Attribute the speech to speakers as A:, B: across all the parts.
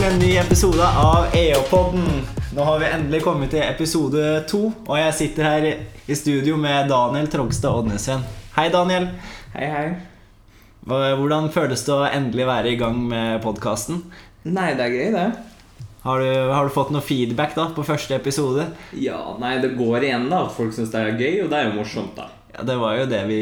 A: episode av EH-podden. Nå har vi endelig kommet til episode to, og jeg sitter her i studio med Daniel Trogstad Oddnesen. Hei, Daniel.
B: Hei, hei.
A: Hva- Hvordan føles det å endelig være i gang med podkasten?
B: Nei, det er gøy, det.
A: Har, du- har du fått noe feedback da på første episode?
B: Ja, nei, det går igjen, da. at Folk syns det er gøy, og det er jo morsomt, da.
A: Ja, det var jo det vi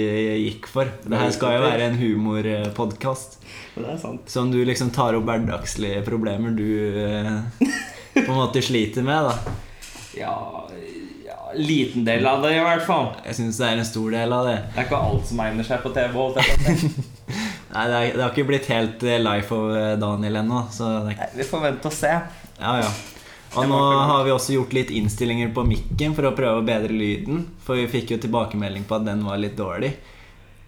A: gikk for. Det her skal jo være en humorpodkast.
B: Det er sant.
A: Som du liksom tar opp hverdagslige problemer du eh, på en måte sliter med. da
B: Ja, ja Liten del av det, i hvert fall.
A: Jeg syns det er en stor del av det.
B: Det er ikke alt som egner seg på TV. holdt jeg på å si.
A: Nei, det, er, det har ikke blitt helt eh, life of eh, Daniel ennå. Så det, er
B: Nei, Vi får vente og se.
A: ikke- ja, ja. Og nå har vi også gjort litt innstillinger på mikken for å prøve å bedre lyden. For vi fikk jo tilbakemelding på at den var litt dårlig.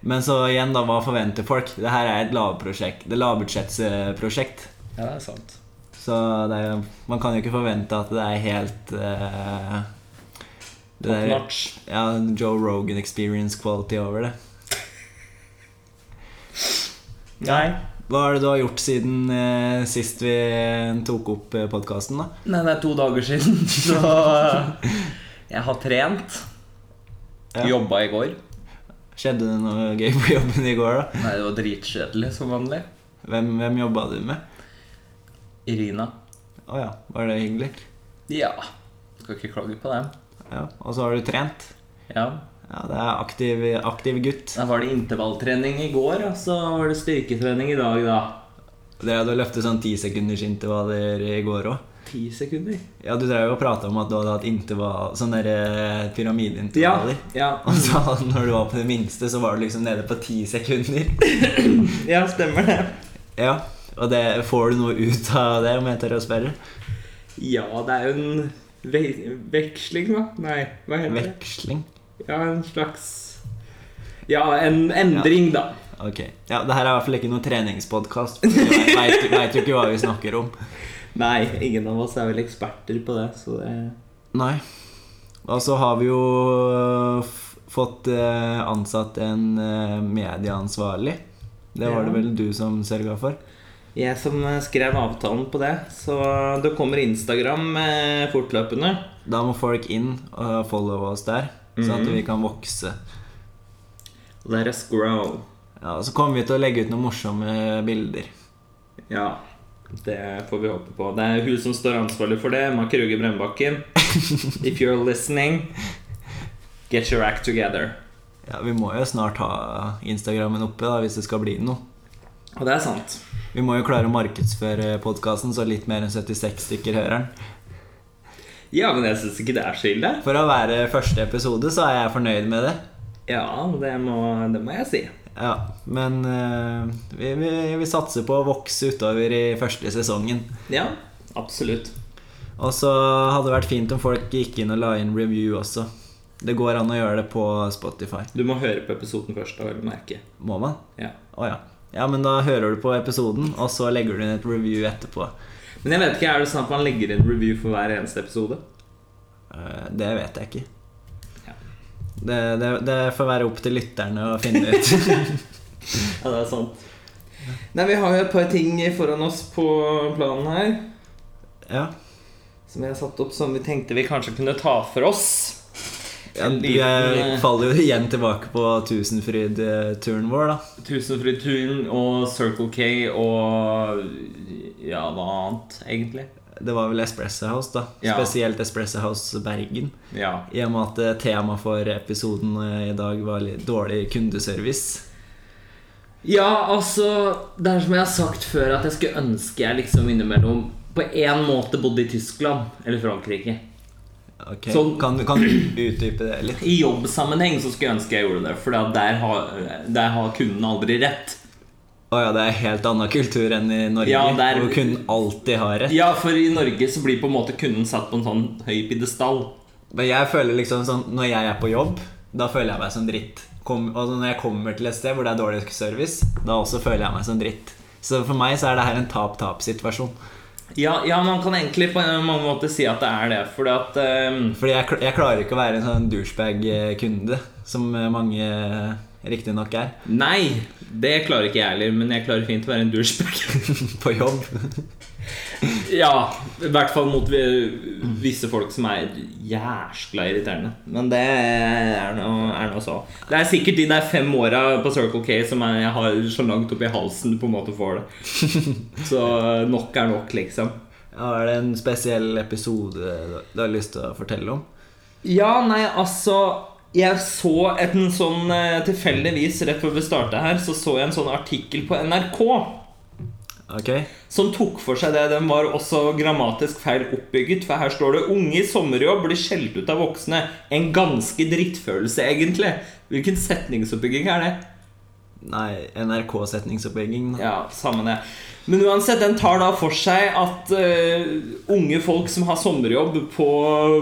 A: Men så igjen, da, hva forventer folk? Det her er et lavprosjekt. Det er lavbudsjettsprosjekt.
B: Ja, det er sant.
A: Så det er, man kan jo ikke forvente at det er helt eh, det
B: Top
A: der-
B: notch.
A: ja, Joe Rogan experience quality over det.
B: Nei.
A: Hva er det du har gjort siden eh, sist vi tok opp eh, podkasten, da?
B: Nei, det er to dager siden, så Jeg har trent.
A: Ja.
B: Jobba i går.
A: Skjedde det noe gøy på jobben i går, da?
B: Nei, det var dritkjedelig, som vanlig.
A: Hvem, hvem jobba du med?
B: Irina.
A: Å ja, var det hyggelig?
B: Ja. Skal ikke klage på det.
A: Ja, Og så har du trent?
B: Ja.
A: Ja, det er aktiv, aktiv gutt.
B: Da var det intervalltrening i går, og så var det styrketrening i dag, da.
A: Dere hadde løftet sånn tisekundersintervaller i går òg.
B: Ti sekunder.
A: Ja, du drev jo og prata om at du hadde hatt intervall, sånne der, eh,
B: Ja.
A: pyramideintervaller.
B: ja.
A: Og så når du var på det minste, så var du liksom nede på ti sekunder.
B: Ja, stemmer det.
A: Ja, og det, får du noe ut av det, om jeg tør å spørre?
B: Ja, det er jo en ve veksling, da. Nei, hva heter det?
A: Veksling?
B: Ja, en slags Ja, en endring, da.
A: Ok. Ja, det her er i hvert fall ikke noen treningspodkast. Veit veit jo ikke hva vi snakker om.
B: Nei, ingen av oss er vel eksperter på det, så det
A: Nei. Og så har vi jo f- fått eh, ansatt en eh, medieansvarlig. Det var det
B: Ja.
A: vel du som sørga for?
B: Jeg som eh, skrev avtalen på det, så det kommer Instagram eh, fortløpende.
A: Da må folk inn og followe oss der, sånn at vi kan vokse.
B: Let us grow.
A: Ja, og så kommer vi til å legge ut noen morsomme bilder.
B: Ja, det får vi håpe på. Det er hun som står ansvarlig for det, Ma Kruge Brennbakken. If you're listening, get your act together.
A: Ja, Vi må jo snart ha Instagrammen oppe da, hvis det skal bli noe.
B: Og det er sant.
A: Vi må jo klare å markedsføre podkasten så litt mer enn 76 stykker hører den.
B: Ja, men jeg syns ikke det er så ille.
A: For å være første episode, så er jeg fornøyd med det.
B: Ja, det må, det må jeg si.
A: Ja, Men eh, vi, vi, vi satser på å vokse utover i første sesongen.
B: Ja, absolutt.
A: Og så hadde det vært fint om folk gikk inn og la inn review også. Det går an å gjøre det på Spotify.
B: Du må høre på episoden først, har du merke.
A: Må man?
B: Ja.
A: Å ja. Ja, men da hører du på episoden, og så legger du inn et review etterpå.
B: Men jeg vet ikke, er det sånn at man legger inn review for hver eneste episode?
A: Eh, Det vet jeg ikke.
B: Ja.
A: Det, det, det får være opp til lytterne å finne ut.
B: Ja, det er sant. Nei, vi har jo et par ting foran oss på planen her.
A: ja.
B: Som vi har satt opp som vi tenkte vi kanskje kunne ta for oss.
A: Ja,
B: En
A: vi
B: liten,
A: er-
B: eh,
A: faller jo igjen tilbake på Tusenfryd-turen vår, da.
B: Tusenfrydturen og Circle K og ja, hva annet, egentlig?
A: Det var vel Espresso House, da.
B: Ja.
A: Spesielt Espresso House Bergen.
B: Ja.
A: I og med at eh, tema for episoden eh, i dag var litt dårlig kundeservice.
B: ja, altså Det er som jeg har sagt før, at jeg skulle ønske jeg liksom innimellom på én måte bodde i Tyskland eller Frankrike.
A: Ok,
B: Sånn-
A: kan, du- kan du utdype det litt?
B: I jobbsammenheng så skulle jeg ønske jeg gjorde det, for der har, der har kunden aldri rett.
A: Å ja, det er helt annen kultur enn i Norge,
B: Ja, det er-
A: hvor kunden alltid har rett.
B: Ja, for i Norge så blir på en måte kunden satt på en sånn høy pidestall.
A: Men jeg føler liksom sånn Når jeg er på jobb, da føler jeg meg som dritt. Kom, og når jeg kommer til et sted hvor det er dårlig service, da også føler jeg meg som dritt. Så for meg så er det her en tap-tap-situasjon.
B: Ja, ja, man kan egentlig på mange måter si at det er det, fordi at eh,
A: Fordi jeg, kl- jeg klarer ikke å være en sånn douchebag-kunde som eh, mange riktignok er.
B: Nei! Det klarer ikke jeg heller, men jeg klarer fint å være en douchebag.
A: På jobb.
B: ja, i hvert fall mot vi- visse folk som er jæskla irriterende. Men det er noe, er noe så. Det er sikkert de der fem åra på Circle K som er, jeg har så langt oppi halsen du på en måte får det. Så eh, nok er nok, liksom.
A: Har det en spesiell episode du har lyst til å fortelle om?
B: Ja, nei, altså Jeg så en sånn eh, Tilfeldigvis, rett før vi starta her, så så jeg en sånn artikkel på NRK
A: Ok?
B: som tok for seg det. Den var også grammatisk feil oppbygget, for her står det 'Unge i sommerjobb blir skjelt ut av voksne'. En ganske drittfølelse, egentlig. Hvilken setningsoppbygging er det?
A: Nei, NRK-setningsoppbygging. da.
B: Ja, samme det. Men uansett, den tar da for seg at eh, unge folk som har sommerjobb på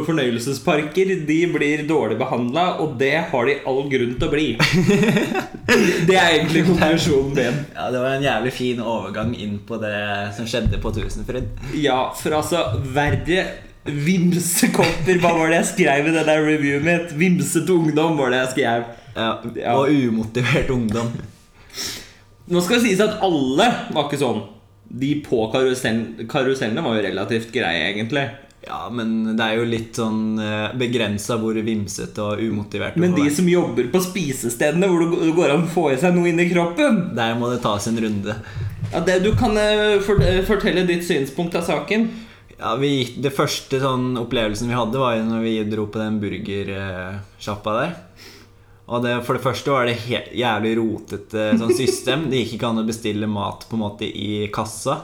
B: fornøyelsesparker, de blir dårlig behandla, og det har de all grunn til å bli. det er egentlig konklusjonen min.
A: Ja, Det var en jævlig fin overgang inn på det som skjedde på Tusenfryd.
B: Ja, for altså, verre vimsekopper, hva var det jeg skrev i det der reviewet mitt? Vimsete ungdom var det jeg skrev.
A: Ja,
B: Ja.
A: Og umotivert ungdom.
B: Nå skal det sies at alle var ikke sånn. De på karusellen, karusellene var jo relativt greie, egentlig.
A: Ja, men det er jo litt sånn begrensa hvor vimsete og umotivert du
B: Men
A: får
B: de
A: være.
B: som jobber på spisestedene hvor det går an å få i seg noe inn i kroppen
A: Der må det tas en runde.
B: ja, det, Du kan eh, fort- eh, fortelle ditt synspunkt av saken.
A: Ja, vi, gikk- Det første sånn opplevelsen vi hadde, var jo når vi dro på den burgersjappa der. Og det, For det første var det helt jævlig rotete sånn system. Det gikk ikke an å bestille mat på en måte i kassa.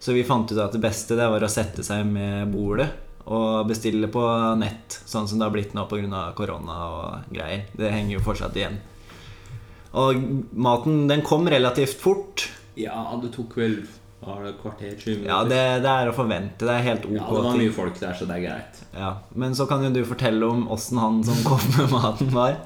A: Så vi fant ut at det beste det var å sette seg med bordet og bestille på nett. Sånn som det har blitt nå pga. korona og greier. Det henger jo fortsatt igjen. Og maten den kom relativt fort.
B: Ja, det tok vel var det kvarter, 20
A: Ja, det, det er å forvente. Det er helt ok. ting.
B: folk der, så det er greit.
A: Ja, Men så kan jo du fortelle om åssen han som kom med maten, var.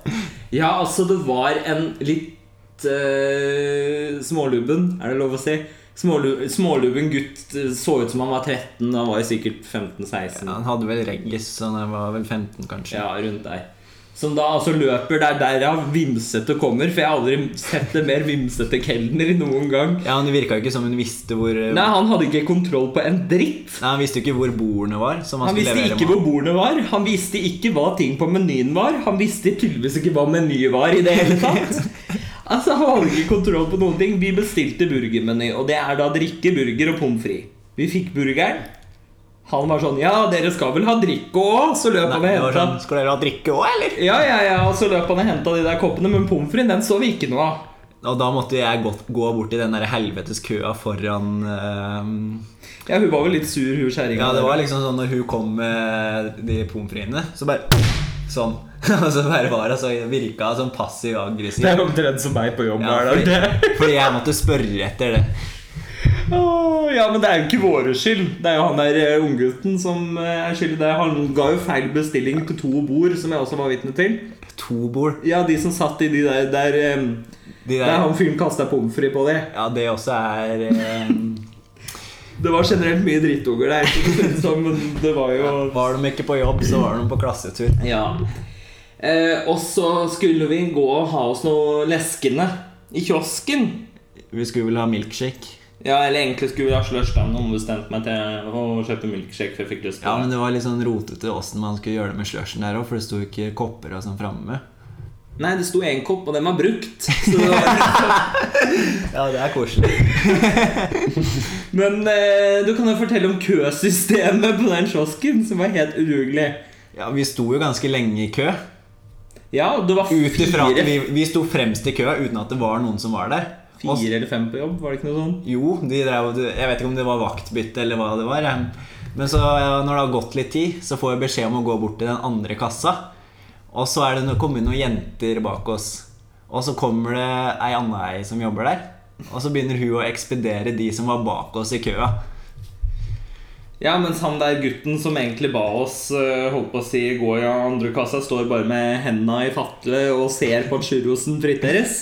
B: Ja, altså, det var en litt eh, smålubben, er det lov å si? Smålu, smålubben gutt eh, så ut som han var 13, han var jo sikkert 15-16.
A: Ja, han hadde vel reggis, så han var vel 15, kanskje.
B: Ja, rundt der. Som da altså løper der derav vimsete kommer, for jeg har aldri sett en mer vimsete kelner noen gang.
A: Ja, Han virka jo ikke som hun visste hvor eh,
B: Nei, han hadde ikke kontroll på en dritt.
A: Nei, Han visste jo ikke hvor bordene var. Som han,
B: Han
A: skulle
B: visste
A: levere
B: ikke
A: mat.
B: hvor bordene var, han visste ikke hva ting på menyen var, han visste tydeligvis ikke hva meny var i det hele tatt. Altså, Han hadde ikke kontroll på noen ting. Vi bestilte burgermeny, og det er da drikke, burger og pommes frites. Vi fikk burgeren. Han var sånn Ja, dere skal vel ha drikke òg? Så løp
A: Nei,
B: han og
A: det var
B: henta
A: sånn, Skal dere ha drikke òg, eller?
B: Ja, ja, ja, og så løp han og henta de der koppene, men pommes fritesen, den så vi ikke noe av.
A: Og da måtte jeg gå, gå bort i den der helvetes køa foran eh,
B: Ja, hun var vel litt sur, hun kjerringa.
A: Ja, det var liksom sånn når hun kom med de pommes fritesene, så bare Sånn. Og så bare var hun så virka hun sånn passiv aggressiv.
B: er omtrent som meg på jobb
A: Ja, fordi, fordi jeg måtte spørre etter det.
B: Åh, ja, men det er jo ikke våre skyld. Det er jo han der eh, unggutten som eh, er skyld i det. Han ga jo feil bestilling på to bord, som jeg også var vitne til.
A: To bord.
B: Ja, de som satt i de der Der, em,
A: De
B: der
A: der,
B: han fyren kasta pommes frites på de.
A: ja, det også er eh,
B: Det var generelt mye drittunger der, så det synes som, men det var jo
A: Var de ikke på jobb, så var de på klassetur.
B: Ja. Eh, og så skulle vi gå og ha oss noe leskende i kiosken.
A: Vi skulle vel ha milkshake.
B: Ja, eller egentlig skulle vi ha slushdown, men ombestemte meg til å kjøpe milkshake. For jeg fikk lyst på
A: Ja, men
B: det.
A: Det var litt sånn rotete åssen man skulle gjøre det med slushen der òg, for det sto ikke kopper og sånn framme.
B: Nei, det sto én kopp, og den var brukt. Så det var...
A: Ja, det er koselig.
B: men eh, du kan jo fortelle om køsystemet på den kiosken, som var helt udugelig.
A: Ja, Vi sto jo ganske lenge i kø.
B: Ja, og det var
A: Ut ifra at
B: fire,
A: vi, vi sto fremst i køa uten at det var noen som var der. Og
B: fire eller fem på jobb, var det ikke noe sånn?
A: Jo, de drev, jeg vet ikke om det var vaktbytte eller hva det var. jeg. Men så ja, når det har gått litt tid, så får jeg beskjed om å gå bort til den andre kassa. Og så er det no- kommet noen jenter bak oss. Og så kommer det ei anna ei som jobber der. Og så begynner hun å ekspedere de som var bak oss i køa.
B: Ja, mens han der gutten som egentlig ba oss eh, holdt på å si gå i andre kassa, står bare med henda i fatle og ser på at churrosen friteres.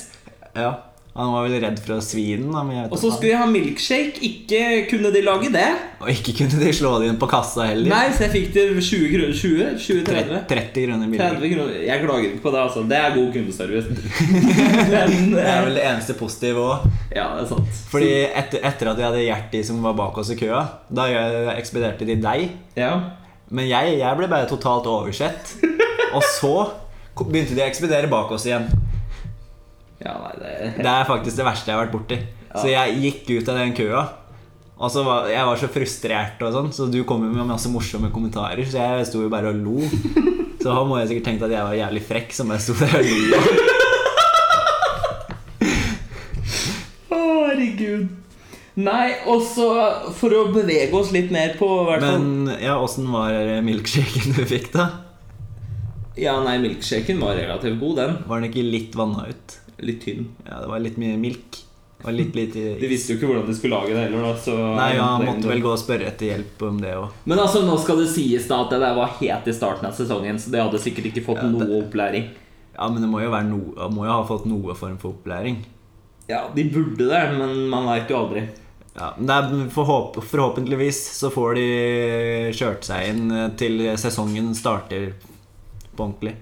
A: Ja. Han var vel redd for å svi den. da, men jeg vet
B: Og så
A: ikke.
B: skulle jeg ha milkshake. Ikke kunne de lage det.
A: Og ikke kunne de slå det inn på kassa heller.
B: Nei, så jeg fikk det 20 kroner. 20? 20 30?
A: 30 kroner billigere.
B: 30 kroner. Jeg klager ikke på det, altså. Det er god kundeservice. Men,
A: Det er
B: eh,
A: vel det eneste positive òg.
B: ja, det er sant.
A: Fordi etter, etter at jeg hadde Hjerti som var bak oss i køa, da jeg ekspederte de deg.
B: Ja.
A: Men jeg, jeg ble bare totalt oversett. Og så ko- begynte de å ekspedere bak oss igjen.
B: ja, nei, det
A: Det er faktisk det verste jeg har vært borti. Så jeg gikk ut av den køa. Og så var, Jeg var så frustrert, og sånn så du kom jo med masse morsomme kommentarer. Så jeg sto jo bare og lo. Så han må jeg sikkert tenkt at jeg var jævlig frekk som bare sto der og lo.
B: Å, herregud. Nei, og så for å bevege oss litt mer på hvert fall
A: Men ja, åssen var milkshaken du fikk, da?
B: Ja, nei, milkshaken var relativt god, den.
A: Var den ikke litt vanna ut?
B: Litt tynn.
A: Ja, det var litt mye milk. Og litt
B: De
A: lite
B: visste jo ikke hvordan de skulle lage det heller, da. Så
A: Nei, ja, han måtte vel gå og spørre etter hjelp om det òg.
B: Men altså, nå skal det sies da at det der var helt i starten av sesongen, så det hadde sikkert ikke fått noe opplæring.
A: Ja, men det må jo, være noe- må jo ha fått noe form for opplæring.
B: Ja, de burde det, men man veit jo aldri.
A: Ja, men det er forhåp Forhåpentligvis så får de kjørt seg inn eh, til sesongen starter på ordentlig.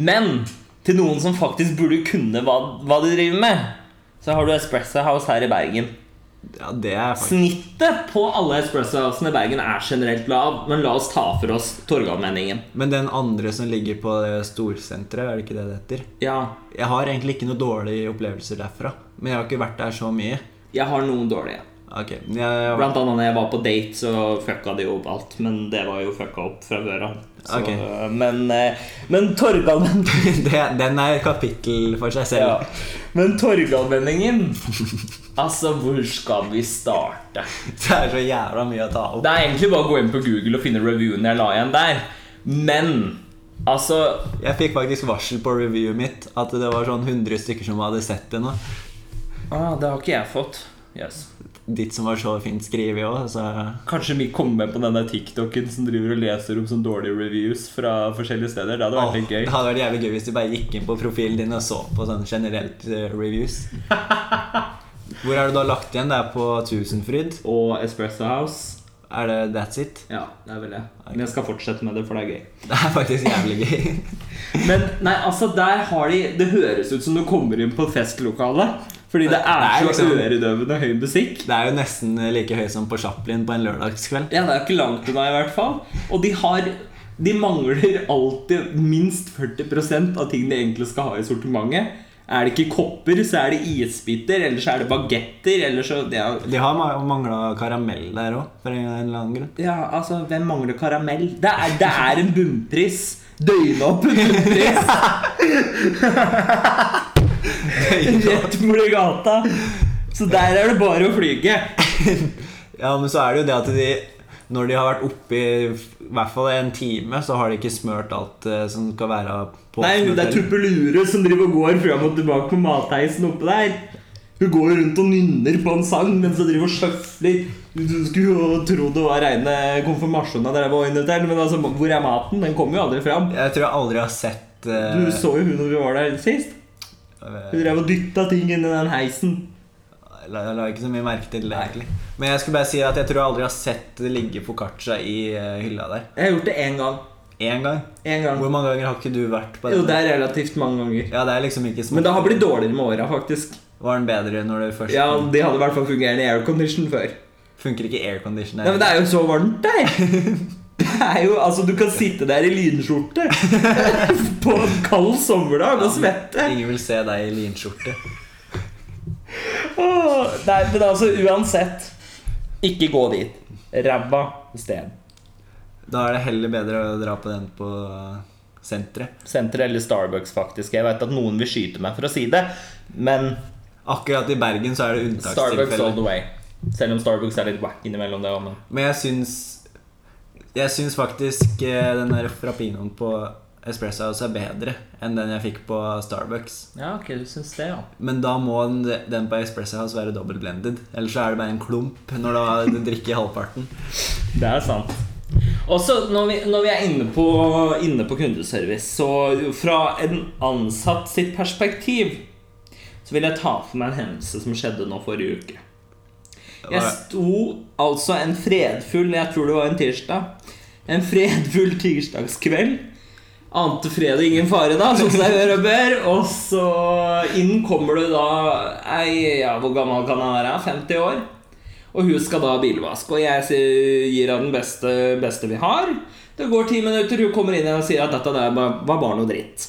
B: Men til noen som faktisk burde kunne hva, hva de driver med, så har du Espresso House her i Bergen.
A: Ja, det er faktisk
B: Snittet på alle Espresso Housene i Bergen er generelt lav, men la oss ta for oss Torgallmenningen.
A: Men den andre som ligger på det storsenteret, er det ikke det det heter?
B: Ja,
A: Jeg har egentlig ikke noen dårlige opplevelser derfra. Men jeg har ikke vært der så mye.
B: jeg har noen dårlige.
A: Ok, men jeg,
B: Blant annet når jeg var på date, så fucka de opp alt. Men det var jo fucka opp fra før av. Så,
A: Ok.
B: Men, eh, men Torgallmenningen
A: det, Den er et kapittel for seg selv.
B: Ja. Men Torgallmenningen Altså, hvor skal vi starte?
A: Det er så jævla mye å ta opp.
B: Det er egentlig bare å gå inn på Google og finne reviewen jeg la igjen der. Men altså
A: Jeg fikk faktisk varsel på reviewet mitt at det var sånn 100 stykker som hadde sett det nå.
B: ah, Det har ikke jeg fått. Yes.
A: Ditt som var så fint skrevet òg, så
B: Kanskje vi kommer med på den der TikToken som driver og leser om sånne dårlige reviews fra forskjellige steder. Det hadde
A: Åh,
B: vært litt
A: Det
B: gøy.
A: hadde vært jævlig gøy hvis du bare gikk inn på profilen din og så på sånn generelt eh, reviews. Hvor er det du har lagt igjen? Det er på Tusenfryd?
B: Og Espresso House.
A: Er det That's It?
B: Ja, det er vel det. Men jeg skal fortsette med det, for det er gøy.
A: Det er faktisk jævlig gøy.
B: Men nei, altså, der har de Det høres ut som du kommer inn på et festlokale. Fordi det er,
A: Det er
B: så
A: liksom-
B: øredøvende høy musikk.
A: Det er jo nesten like høy som på Chaplin på en lørdagskveld.
B: Ja, det er ikke langt unna i hvert fall. Og de har De mangler alltid minst 40 av ting de egentlig skal ha i sortimentet. Er det ikke kopper, så er det isbiter, eller så er det bagetter, eller så ja,
A: De har mangla karamell der òg, for en eller annen grunn.
B: ja, altså, hvem mangler karamell? Det er, det er en bunnpris. Døgnåpen bunnpris rett borti gata. Så der er det bare å flyge.
A: Ja, men så er det jo det at de når de har vært oppe i i hvert fall en time, så har de ikke smørt alt eh, som skal være på
B: Nei, hun der
A: smørtellen.
B: tuppelure som driver og går fram og tilbake på matheisen oppe der. Hun går rundt og nynner på en sang mens hun driver og sjøfler. Du skulle jo tro det var reine konfirmasjonen dere var invitert, men altså, hvor er maten? Den kommer jo aldri fram.
A: Jeg tror jeg aldri har sett eh,
B: Du så jo hun når vi var der sist.
A: eh,
B: Hun drev og dytta ting inn i den heisen.
A: la, la ikke så mye merke til det, egentlig. Men jeg skulle bare si at jeg tror jeg aldri har sett det ligge foccaccia i eh, hylla der.
B: Jeg har gjort det én gang.
A: Én gang.
B: En gang.
A: Hvor mange ganger har ikke du vært på
B: Jo,
A: den?
B: det er relativt mange ganger.
A: Ja, det er liksom ikke
B: Men
A: smått.
B: det har blitt dårligere med åra, faktisk.
A: Var den bedre når du først
B: Ja, De hadde i hvert fall fungerende aircondition før.
A: Funker ikke aircondition
B: Nei, men
A: der?
B: Det er jo så varmt der! Det er jo, altså Du kan sitte der i lynskjorte på en kald sommerdag og svette.
A: Ingen vil se deg i linskjorte.
B: Åh, Nei, men altså, uansett Ikke gå dit. Ræva sted.
A: Da er det heller bedre å dra på den på eh, senteret.
B: Senter eller Starbucks, faktisk. Jeg veit at noen vil skyte meg for å si det, men
A: Akkurat i Bergen så er det
B: Starbucks
A: unntakstilfeller.
B: all the way. Selv om Starbucks er litt wack innimellom. det også, men-
A: Men jeg syns Jeg syns faktisk eh, den der frappinoen på Espresso House er bedre enn den jeg fikk på Starbucks.
B: Ja, ok, du syns det, ja.
A: Men da må den, den på Espresso House være dobbelt blended. Ellers så er det bare en klump når du, du drikker halvparten.
B: Det er sant. Også når vi, når vi er inne på, inne på kundeservice, så fra en ansatt sitt perspektiv, så vil jeg ta for meg en hendelse som skjedde nå forrige uke.
A: Det
B: Jeg
A: var-
B: sto altså en fredfull Jeg tror det var en tirsdag. En fredfull tirsdagskveld. Ante fred og ingen fare, da, som seg hør og bør. Og så inn kommer det da ei ja, Hvor gammel kan jeg være? 50 år? Og hun skal da ha bilvask. Og jeg sier- gir henne den beste, beste vi har. Det går ti minutter, hun kommer inn igjen og sier at dette der var var bare noe dritt.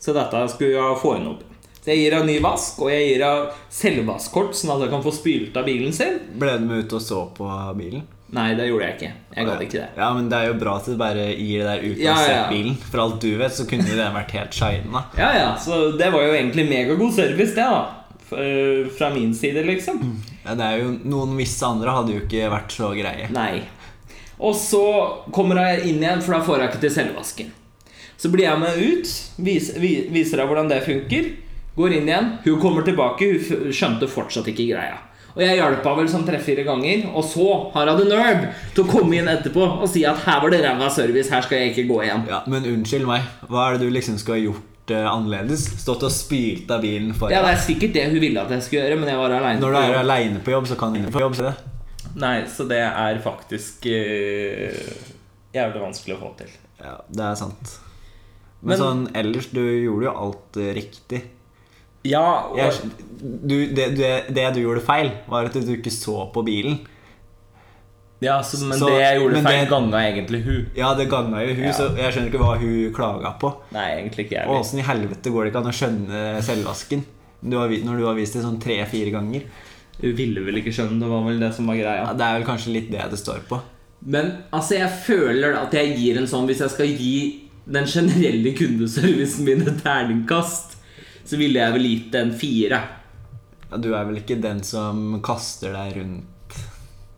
B: Så dette skulle jeg få henne opp. Så jeg gir henne ny vask, og jeg gir henne selvvaskkort, sånn at hun kan få spylt av bilen sin.
A: Ble du med ut og så på bilen?
B: Nei, det gjorde jeg ikke. Jeg gadd ikke det.
A: Ja, men det er jo bra at du bare gir det der ut og
B: Ja, ja, ja.
A: ser bilen. For alt du vet, så kunne jo den vært helt shina.
B: Ja, ja, Så det var jo egentlig megagod service, det, da. F- øh, Fra min side, liksom.
A: Ja, det er jo Noen visse andre hadde jo ikke vært så greie.
B: Nei. Og så kommer jeg inn igjen, for da får jeg ikke til selvvasken. Så blir jeg med ut, viser, vi- viser deg hvordan det funker. Går inn igjen. Hun kommer tilbake, hun f- skjønte fortsatt ikke greia. Og jeg hjalp henne vel sånn tre-fire ganger. Og så har hun the nerve til å komme inn etterpå og si at her var det ræva service, her skal jeg ikke gå igjen.
A: Ja, Men unnskyld meg, hva er det du liksom skulle ha gjort eh, annerledes? Stått og spylt av bilen for
B: Ja, det er sikkert det hun ville at jeg skulle gjøre, men jeg var aleine.
A: Når du er aleine på jobb, så kan du på jobb. Se det.
B: Nei, så det er faktisk eh, jævlig vanskelig å få til.
A: Ja, det er sant. Men,
B: Men-
A: sånn ellers, du gjorde jo alt eh, riktig.
B: Ja, og...
A: Jeg, du, det, det, det du gjorde feil, var at du ikke så på bilen.
B: Ja, så, men
A: Så-
B: det jeg gjorde
A: men
B: feil
A: det-
B: ganga egentlig hun.
A: Ja, det ganga jo hun,
B: Ja.
A: så jeg skjønner ikke hva hun klaga på.
B: Nei, egentlig ikke
A: Og
B: jeg. heller.
A: åssen i helvete går det ikke an å skjønne selvvasken du har, vi- når du har vist det sånn tre-fire ganger?
B: Hun ville vel ikke skjønne det, var vel det som var
A: Ja,
B: greia.
A: det er vel kanskje litt det det står på.
B: Men altså, jeg føler at jeg gir en sånn Hvis jeg skal gi den generelle kundeservicen min et terningkast, så ville jeg vel gitt en fire.
A: Ja, du er vel ikke den som kaster deg rundt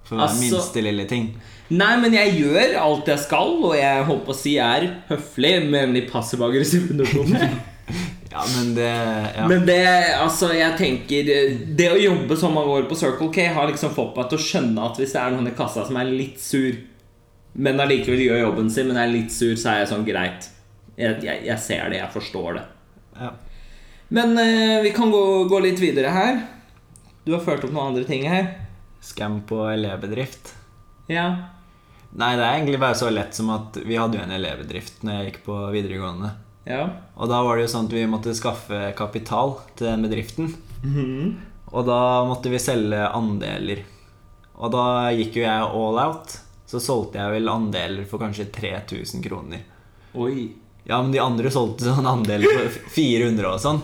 A: for hver
B: Altså-
A: minste lille ting?
B: Nei, men jeg gjør alt jeg skal, og jeg holdt på å si jeg er høflig, men i passiv-aggressiv undertone.
A: Ja, men det ja.
B: Men det, altså, jeg tenker Det å jobbe så mange år på Circle K har liksom fått meg til å skjønne at hvis det er noen i kassa som er litt sur, men allikevel gjør jobben sin, men er litt sur, så er jeg sånn greit. Jeg, jeg, jeg ser det, jeg forstår det.
A: ja.
B: Men eh, vi kan gå, gå litt videre her. Du har ført opp noen andre ting her.
A: Scam på elevbedrift.
B: Ja.
A: Nei, det er egentlig bare så lett som at vi hadde jo en elevbedrift når jeg gikk på videregående.
B: Ja.
A: Og da var det jo sånn at vi måtte skaffe kapital til den bedriften.
B: Mhm.
A: Og da måtte vi selge andeler. Og da gikk jo jeg all out. Så solgte jeg vel andeler for kanskje 3000 kroner.
B: Oi.
A: Ja, men de andre solgte sånn andeler for 400 og sånn.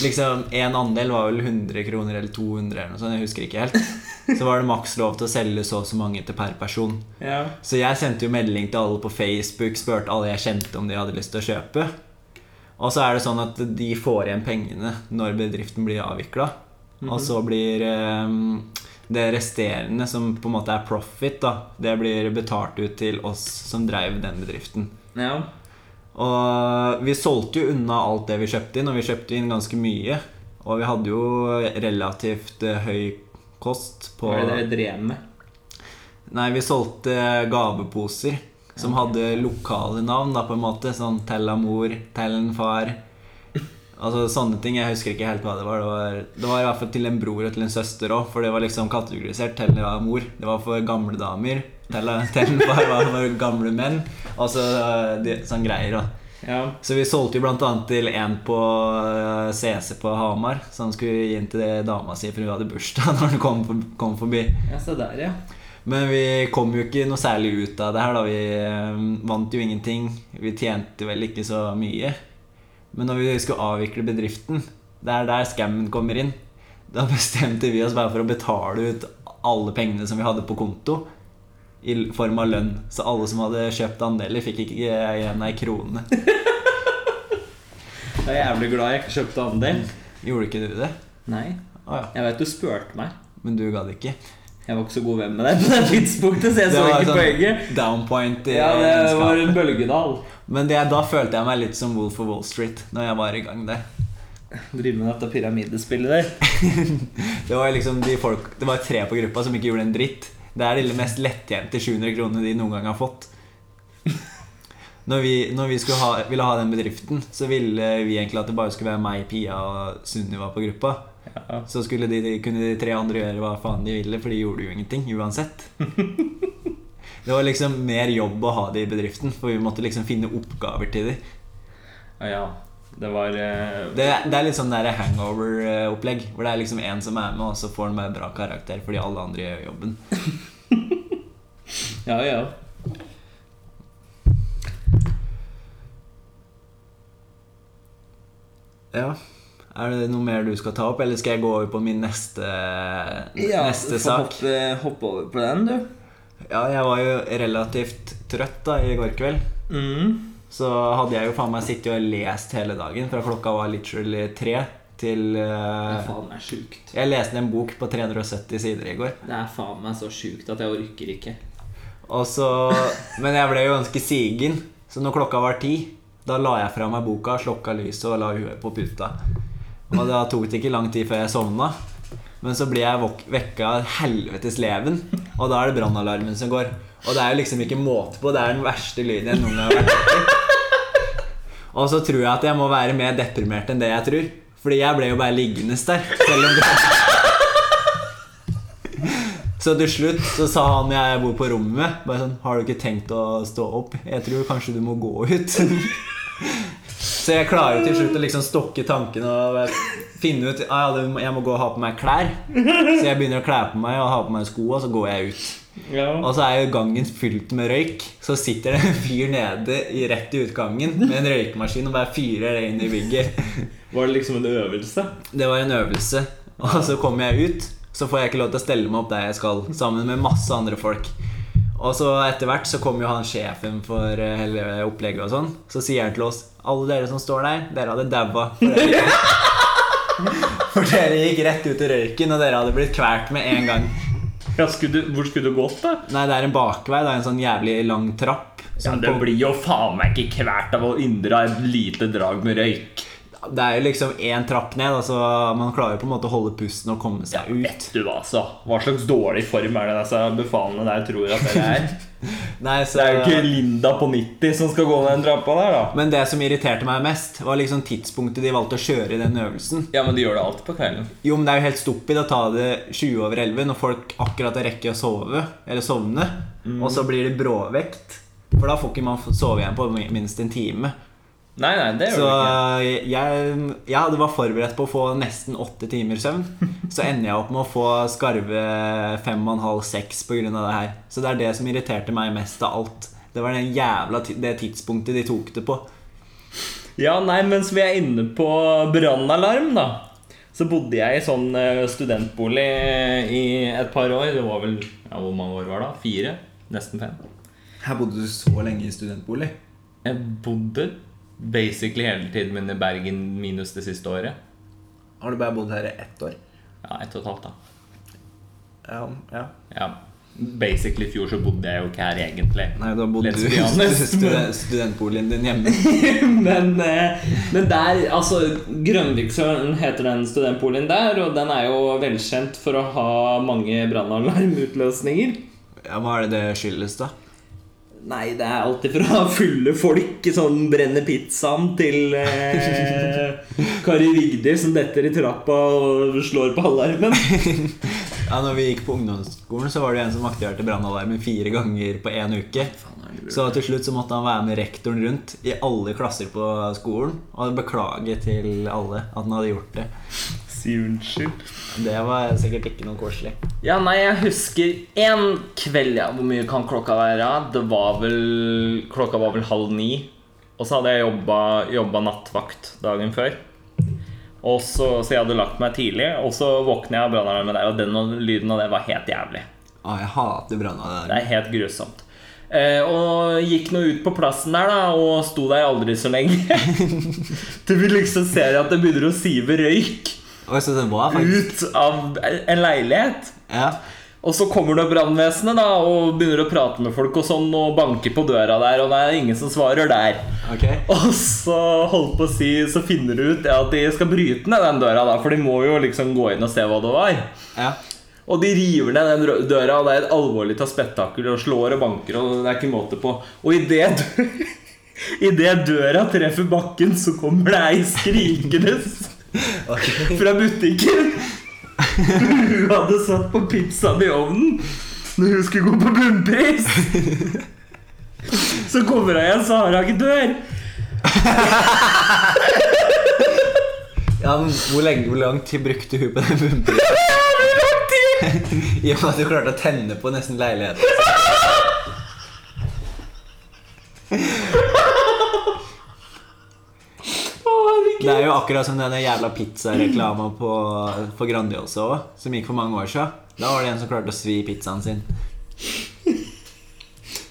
A: Liksom, En andel var vel 100 kroner eller 200 eller noe sånt. Jeg husker ikke helt. Så var det maks lov til å selge så og så mange til per person.
B: Ja.
A: Så jeg sendte jo melding til alle på Facebook, spurte alle jeg kjente om de hadde lyst til å kjøpe. Og så er det sånn at de får igjen pengene når bedriften blir avvikla. Og så blir eh, det resterende, som på en måte er profit, da, det blir betalt ut til oss som drev den bedriften.
B: Ja.
A: Og vi solgte jo unna alt det vi kjøpte inn, og vi kjøpte inn ganske mye. Og vi hadde jo relativt eh, høy kost på
B: Hva er det dere drev med?
A: Nei, vi solgte gaveposer som hadde lokale navn, da, på en måte. Sånn Tell Amor, Tell en far. Altså sånne ting. Jeg husker ikke helt hva det var. Det var, det var i hvert fall til en bror og til en søster òg, for det var liksom kategorisert. Tell Amor. Det var for gamle damer. Tell, tell en far var for gamle menn. Altså de, sånn greier. da
B: Ja.
A: så vi solgte jo blant annet til en på eh, CC på Hamar, så han skulle gi inn til det dama si, for hun hadde bursdag når hun kom, for- kom forbi.
B: ja, se der, ja.
A: Men vi kom jo ikke noe særlig ut av det her, da. Vi eh, vant jo ingenting. Vi tjente vel ikke så mye. Men når vi skulle avvikle bedriften, det er der skammen kommer inn. Da bestemte vi oss bare for å betale ut alle pengene som vi hadde på konto, i l- form av lønn. Så alle som hadde kjøpt andeler, fikk ikke eh, igjen ei krone.
B: Jeg er jævlig glad jeg ikke kjøpte andel.
A: Gjorde ikke du det?
B: Nei.
A: Å ja.
B: Jeg vet du spurte meg.
A: Men du gadd ikke.
B: Jeg var ikke så god venn med deg på det tidspunktet, så jeg så ikke poenget.
A: sånn down point i
B: Ja, det var
A: vennskap.
B: en bølgedal.
A: Men det, da følte jeg meg litt som Wolf of Wall Street når jeg var i gang der.
B: Drive med dette pyramidespillet der.
A: Det var liksom de folk, det var tre på gruppa som ikke gjorde en dritt. Det er de mest lettjente 700 kronene de noen gang har fått. Når vi, når vi skulle ha, ville ha den bedriften, så ville vi egentlig at det bare skulle være meg, Pia og Sunniva på gruppa.
B: Ja.
A: Så skulle de, de- kunne de tre andre gjøre hva faen de ville, for de gjorde jo ingenting uansett. Det var liksom mer jobb å ha det i bedriften, for vi måtte liksom finne oppgaver til dem.
B: Ja, ja. Det var eh,
A: Det, det er litt sånn der hangover-opplegg, hvor det er liksom én som er med, og så får han bare bra karakter fordi alle andre gjør jobben.
B: Ja, ja.
A: Ja. Er det noe mer du skal ta opp, eller skal jeg gå over på min neste, neste sak?
B: Hoppe, hoppe over på den, du.
A: Ja, jeg var jo relativt trøtt da i går kveld.
B: Mm.
A: Så hadde jeg jo faen meg sittet og lest hele dagen, fra klokka var literally tre til
B: Det
A: eh,
B: er faen meg sjukt.
A: Jeg leste en bok på 370 sider i går.
B: Det er faen meg så sjukt at jeg orker ikke.
A: Og så, men jeg ble jo ganske sigen, så når klokka var ti, da la jeg fra meg boka, slokka lyset og la huet på puta. Og da tok det ikke lang tid før jeg sovna. Men så blir jeg våk- vekka av helvetes leven, og da er det brannalarmen som går. Og det er jo liksom ikke måte på. Det er den verste lyden jeg noen gang har vært borti. Og så tror jeg at jeg må være mer deprimert enn det jeg tror. Fordi jeg ble jo bare liggende der. Selv om det Så til slutt så sa han jeg bor på rommet med, bare sånn Har du ikke tenkt å stå opp? Jeg tror kanskje du må gå ut. så jeg klarer jo til slutt å liksom stokke tankene og eh, finne ut ah, ja, det må- jeg må gå og ha på meg klær. Så jeg begynner å kle på meg og ha på meg sko, og så går jeg ut. Og
B: Ja.
A: så er jo gangen fylt med røyk. Så sitter det en fyr nede i, rett i utgangen med en røykemaskin og bare fyrer det inn i bygget.
B: Var det liksom en øvelse?
A: Det var en øvelse. Og så kommer jeg ut, så får jeg ikke lov til å stelle meg opp der jeg skal, sammen med masse andre folk. Og så etter hvert så kommer jo han sjefen for eh, hele opplegget og sånn. Så sier han til oss alle dere som står der, dere hadde daua. For dere, for dere gikk rett ut i røyken, og dere hadde blitt kvalt med en gang.
B: Ja, skulle du, hvor skulle du gått, da?
A: Nei, det er en bakvei. Det er en sånn jævlig lang trapp.
B: Ja,
A: som
B: det
A: på-
B: blir jo faen meg ikke kvært av å inndra et lite drag med røyk.
A: det er jo liksom én trapp ned, da, så man klarer jo på en måte å holde pusten og komme seg ut.
B: Vet du hva, altså. Hva slags dårlig form er det disse befalene der tror at dere er?
A: Nei, så,
B: Det er jo ikke Linda på 90 som skal gå ned den trappa der, da.
A: Men det som irriterte meg mest, var liksom tidspunktet de valgte å kjøre i den øvelsen.
B: Ja, men de gjør det alltid på kvelden.
A: Jo, men det er jo helt stupid å ta det 20 over 11 når folk akkurat rekker å sove, eller sovne, og så blir det bråvekt. For da får ikke man sove igjen på minst en time.
B: Nei, nei, det gjør
A: Så
B: de ikke.
A: jeg, jeg hadde var forberedt på å få nesten åtte timer søvn. Så ender jeg opp med å få skarve fem og en halv, seks på grunn av det her. Så det er det som irriterte meg mest av alt. Det var den jævla, ti- det tidspunktet de tok det på.
B: Ja, nei, mens vi er inne på brannalarm, da, så bodde jeg i sånn eh, studentbolig eh, i et par år. Det var vel ja, Hvor mange år var det? da? Fire? Nesten fem.
A: Her bodde du så lenge i studentbolig.
B: Jeg bodde basically hele tiden min i Bergen minus det siste året.
A: Har du bare bodd her i ett år?
B: Ja, ett og et halvt, da.
A: Ja, ja.
B: Ja. Basically i fjor så bodde jeg jo ikke her egentlig.
A: Nei, da bodde
B: Let's
A: du
B: be
A: i
B: honest, men-
A: stud studentboligen din hjemme.
B: men, eh, men der, altså Grønviksølen heter den studentboligen der, og den er jo velkjent for å ha mange brannalarmutløsninger.
A: Ja, Hva er det det skyldes, da?
B: Nei, det er alltid fra fulle folk som brenner pizzaen, til eh, Kari Vigdis som detter i trappa og slår på alarmen.
A: Ja, når vi gikk på ungdomsskolen, så var det en som aktiverte brannalarmen fire ganger på én uke. Så til slutt så måtte han være med rektoren rundt i alle klasser på skolen og beklage til alle at han hadde gjort det.
B: Si unnskyld.
A: Det var sikkert ikke noe koselig.
B: Ja, nei, jeg husker en kveld, ja. Hvor mye kan klokka være? Det var vel Klokka var vel halv ni. Og så hadde jeg jobba, jobba nattvakt dagen før. Og så, så jeg hadde lagt meg tidlig, og så våkner jeg av brannalarmen der, og den lyden av det var helt jævlig.
A: Å, jeg hater
B: Det
A: brannalarm.
B: er helt grusomt. Eh, og gikk nå ut på plassen der, da, og sto der aldri så lenge. Til vi liksom ser at det begynner å sive røyk
A: Oi, så det var faktisk
B: ut av en leilighet.
A: Ja.
B: Og så kommer det brannvesenet da og begynner å prate med folk og sånn og banker på døra der, og det er ingen som svarer der.
A: Ok.
B: Og så holdt på å si, så finner du ut ja, at de skal bryte ned den døra, da, for de må jo liksom gå inn og se hva det var.
A: Ja.
B: Og de river ned den rø- døra, og det er et alvorlig spetakkel og slår og banker, og det er ikke måte på. Og i det dø- Idet døra treffer bakken, så kommer det ei skrikende fra butikken. Hun hadde satt på pizzaen i ovnen når hun skulle gå på bunnpris. Så kommer hun igjen, så har hun ikke dør.
A: Ja, men hvor, lenge, hvor lang tid brukte hun på den bunnprisen? I og med at du klarte å tenne på nesten leiligheten.
B: Å, herregud.
A: Det er jo akkurat som denne jævla pizzareklama på, på Grandiosa også, som gikk for mange år siden. Da var det en som klarte å svi pizzaen sin.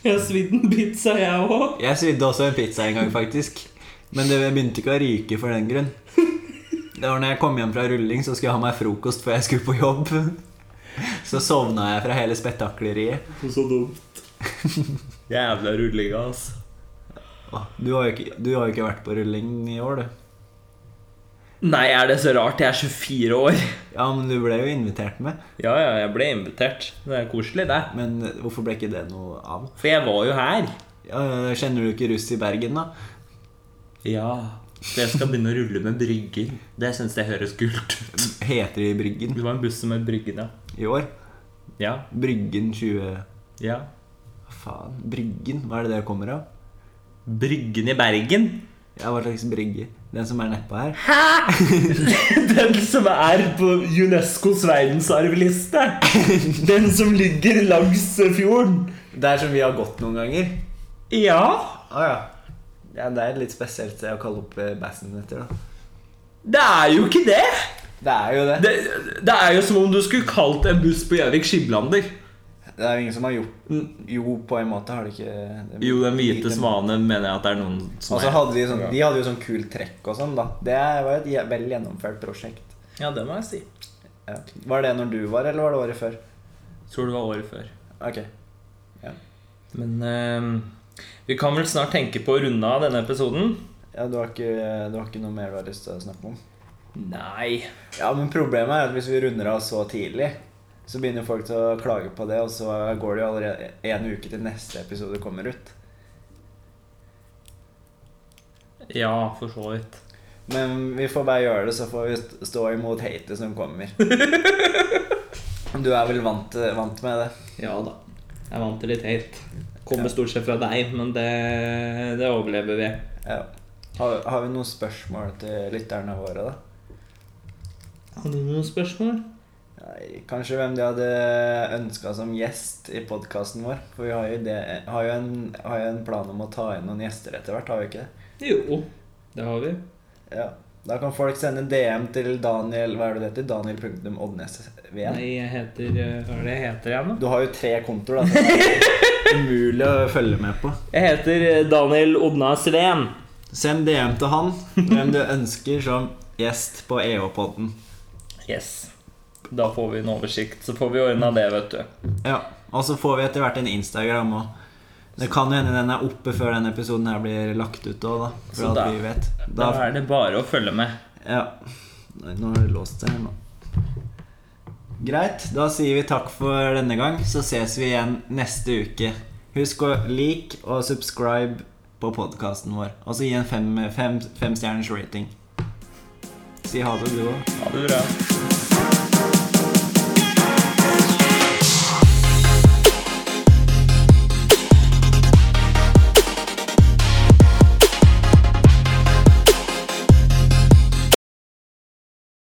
B: Jeg har svidd en pizza, jeg òg.
A: Jeg svidde også en pizza en gang, faktisk. Men det begynte ikke å ryke for den grunn. Det var når jeg kom hjem fra rulling, så skulle jeg ha meg frokost før jeg skulle på jobb. Så sovna jeg fra hele spetakkeleriet.
B: Så dumt. Jævla rullinga, altså.
A: Åh, Du har jo ikke, du har jo ikke vært på rulling i år, du.
B: Nei, er det så rart? Jeg er 24 år.
A: Ja, men du ble jo invitert med.
B: Ja, ja, jeg ble invitert. Det er koselig, det.
A: Men hvorfor ble ikke det noe av?
B: For jeg var jo her.
A: Ja, kjenner du ikke russ i Bergen, da?
B: Ja. Så jeg skal begynne å rulle med brygger. Det syns jeg høres kult ut.
A: Heter de Bryggen
B: Det var en buss som het Bryggen, ja.
A: i år?
B: Ja.
A: Bryggen 20...
B: ja.
A: Hva faen? Bryggen? Hva er det det kommer av?
B: Bryggen i Bergen?
A: Ja, hva slags brygge? Den som er nedpå her?
B: Den som er på UNESCOs verdensarvliste. Den som ligger langs fjorden.
A: Der som vi har gått noen ganger.
B: Ja.
A: Å ja. ja. Det er et litt spesielt sted å kalle opp eh, bassen etter, da.
B: Det er jo ikke det.
A: Det er jo det.
B: det. Det er jo som om du skulle kalt en buss på Gjøvik Skiblander.
A: Det er jo ingen som har gjort Jo, på en måte har de ikke det-
B: Jo, Den hvite svane mener jeg at det er noen som
A: Og så
B: er-
A: hadde de, sånn, de hadde jo sånn kult trekk og sånn, da. Det var et je- vel gjennomført prosjekt.
B: Ja, det må jeg si.
A: Ja. Var det når du var, eller var det året før?
B: Tror det var året før.
A: Ok.
B: Men eh, vi kan vel snart tenke på å runde av denne episoden.
A: Ja, du har, ikke, du har ikke noe mer du har lyst til å snakke om?
B: Nei.
A: Ja, men problemet er at hvis vi runder av så tidlig, så begynner folk til å klage på det, og så går det jo allerede en uke til neste episode kommer ut.
B: Ja, for så vidt.
A: Men vi får bare gjøre det, så får vi st- stå imot hatet som kommer. Du er vel vant, vant med det?
B: Ja da. Jeg vant til litt hate. Kommer stort sett fra deg, men det, det overlever vi.
A: Ja. Har, har vi noen spørsmål til lytterne våre, da?
B: Har du noen spørsmål?
A: Nei, kanskje hvem de hadde ønska som gjest i podkasten vår? For vi har jo, det, har, jo en, har jo en plan om å ta inn noen gjester etter hvert, har vi ikke det?
B: Jo, det har vi.
A: Ja. Da kan folk sende DM til Daniel Hva er det det heter? Daniel.odnes.vn.
B: Nei, jeg heter eh, Hva er det jeg heter igjen, da?
A: Du har jo tre kontoer, da. Så det er umulig å følge med på.
B: Jeg heter eh, Daniel Odna Sveen.
A: Send DM til han hvem du ønsker som gjest på E EH-podden.
B: Yes. Da får vi en oversikt. Så får vi ordna det, vet du.
A: Ja. Og så får vi etter hvert en Instagram òg. Det kan jo hende den er oppe før denne episoden her blir lagt ut òg, da. For
B: Så
A: alt
B: da-
A: vi vet.
B: Da
A: Da,
B: er det bare å følge med.
A: ja. Nei, nå har det låst seg her nå. Greit. Da sier vi takk for denne gang, så ses vi igjen neste uke. Husk å like og subscribe på podkasten vår. Og så gi en fem- fem- femstjerners rating. Si ha det, du òg.
B: Ha det bra.